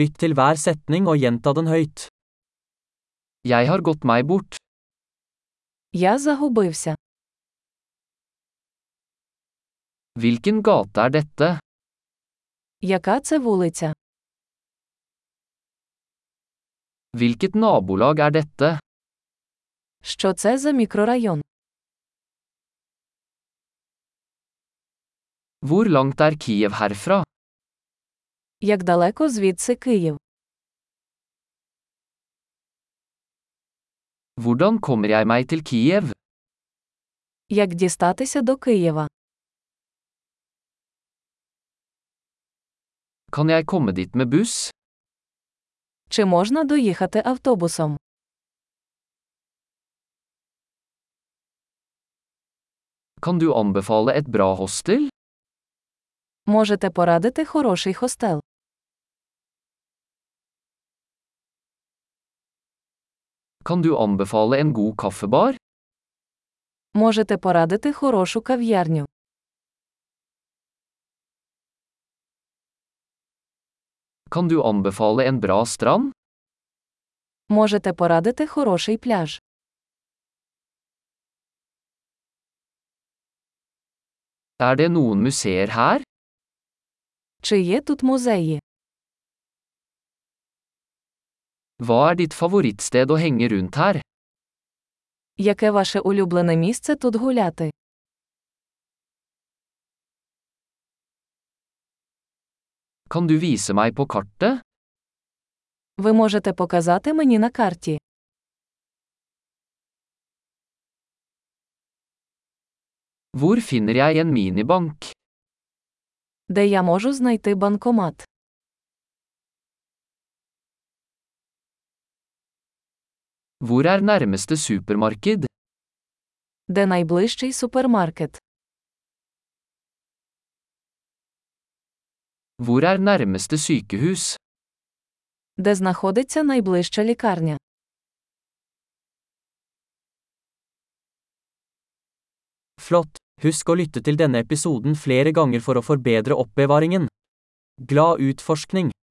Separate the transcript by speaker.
Speaker 1: Lytt til hver setning og gjenta den høyt. Jeg har gått meg bort.
Speaker 2: Я загубився.
Speaker 1: Hvilken gate er dette?
Speaker 2: Яка це вулиця?
Speaker 1: Hvilket nabolag er dette?
Speaker 2: Що це за мікрорайон?
Speaker 1: Hvor langt er Kiev herfra?
Speaker 2: Як далеко звідси Київ?
Speaker 1: Hvordan kommer jeg meg til Kiev?
Speaker 2: Як дістатися до Києва?
Speaker 1: Kan jeg komme dit med buss?
Speaker 2: Чи можна доїхати автобусом?
Speaker 1: Kan du anbefale et bra hostel?
Speaker 2: Можете порадити хороший хостел.
Speaker 1: Kan du anbefale en god kaffebar?
Speaker 2: Можете порадити хорошу кав'ярню.
Speaker 1: Kan du anbefale en bra strand?
Speaker 2: Можете порадити хороший пляж.
Speaker 1: Er det noen museer her?
Speaker 2: Чи є тут музеї?
Speaker 1: Hva er ditt favorittsted å henge rundt her?
Speaker 2: Яке ваше улюблене місце тут гуляти?
Speaker 1: Kan du vise meg på kartet?
Speaker 2: Ви можете показати мені на карті.
Speaker 1: Hvor finner jeg en minibank?
Speaker 2: Де я можу знайти банкомат?
Speaker 1: Hvor er nærmeste supermarked?
Speaker 2: Де найближчий супермаркет?
Speaker 1: Hvor er nærmeste sykehus?
Speaker 2: Де знаходиться найближча лікарня?
Speaker 1: Flott! Husk å lytte til denne episoden flere ganger for å forbedre oppbevaringen. Glad utforskning!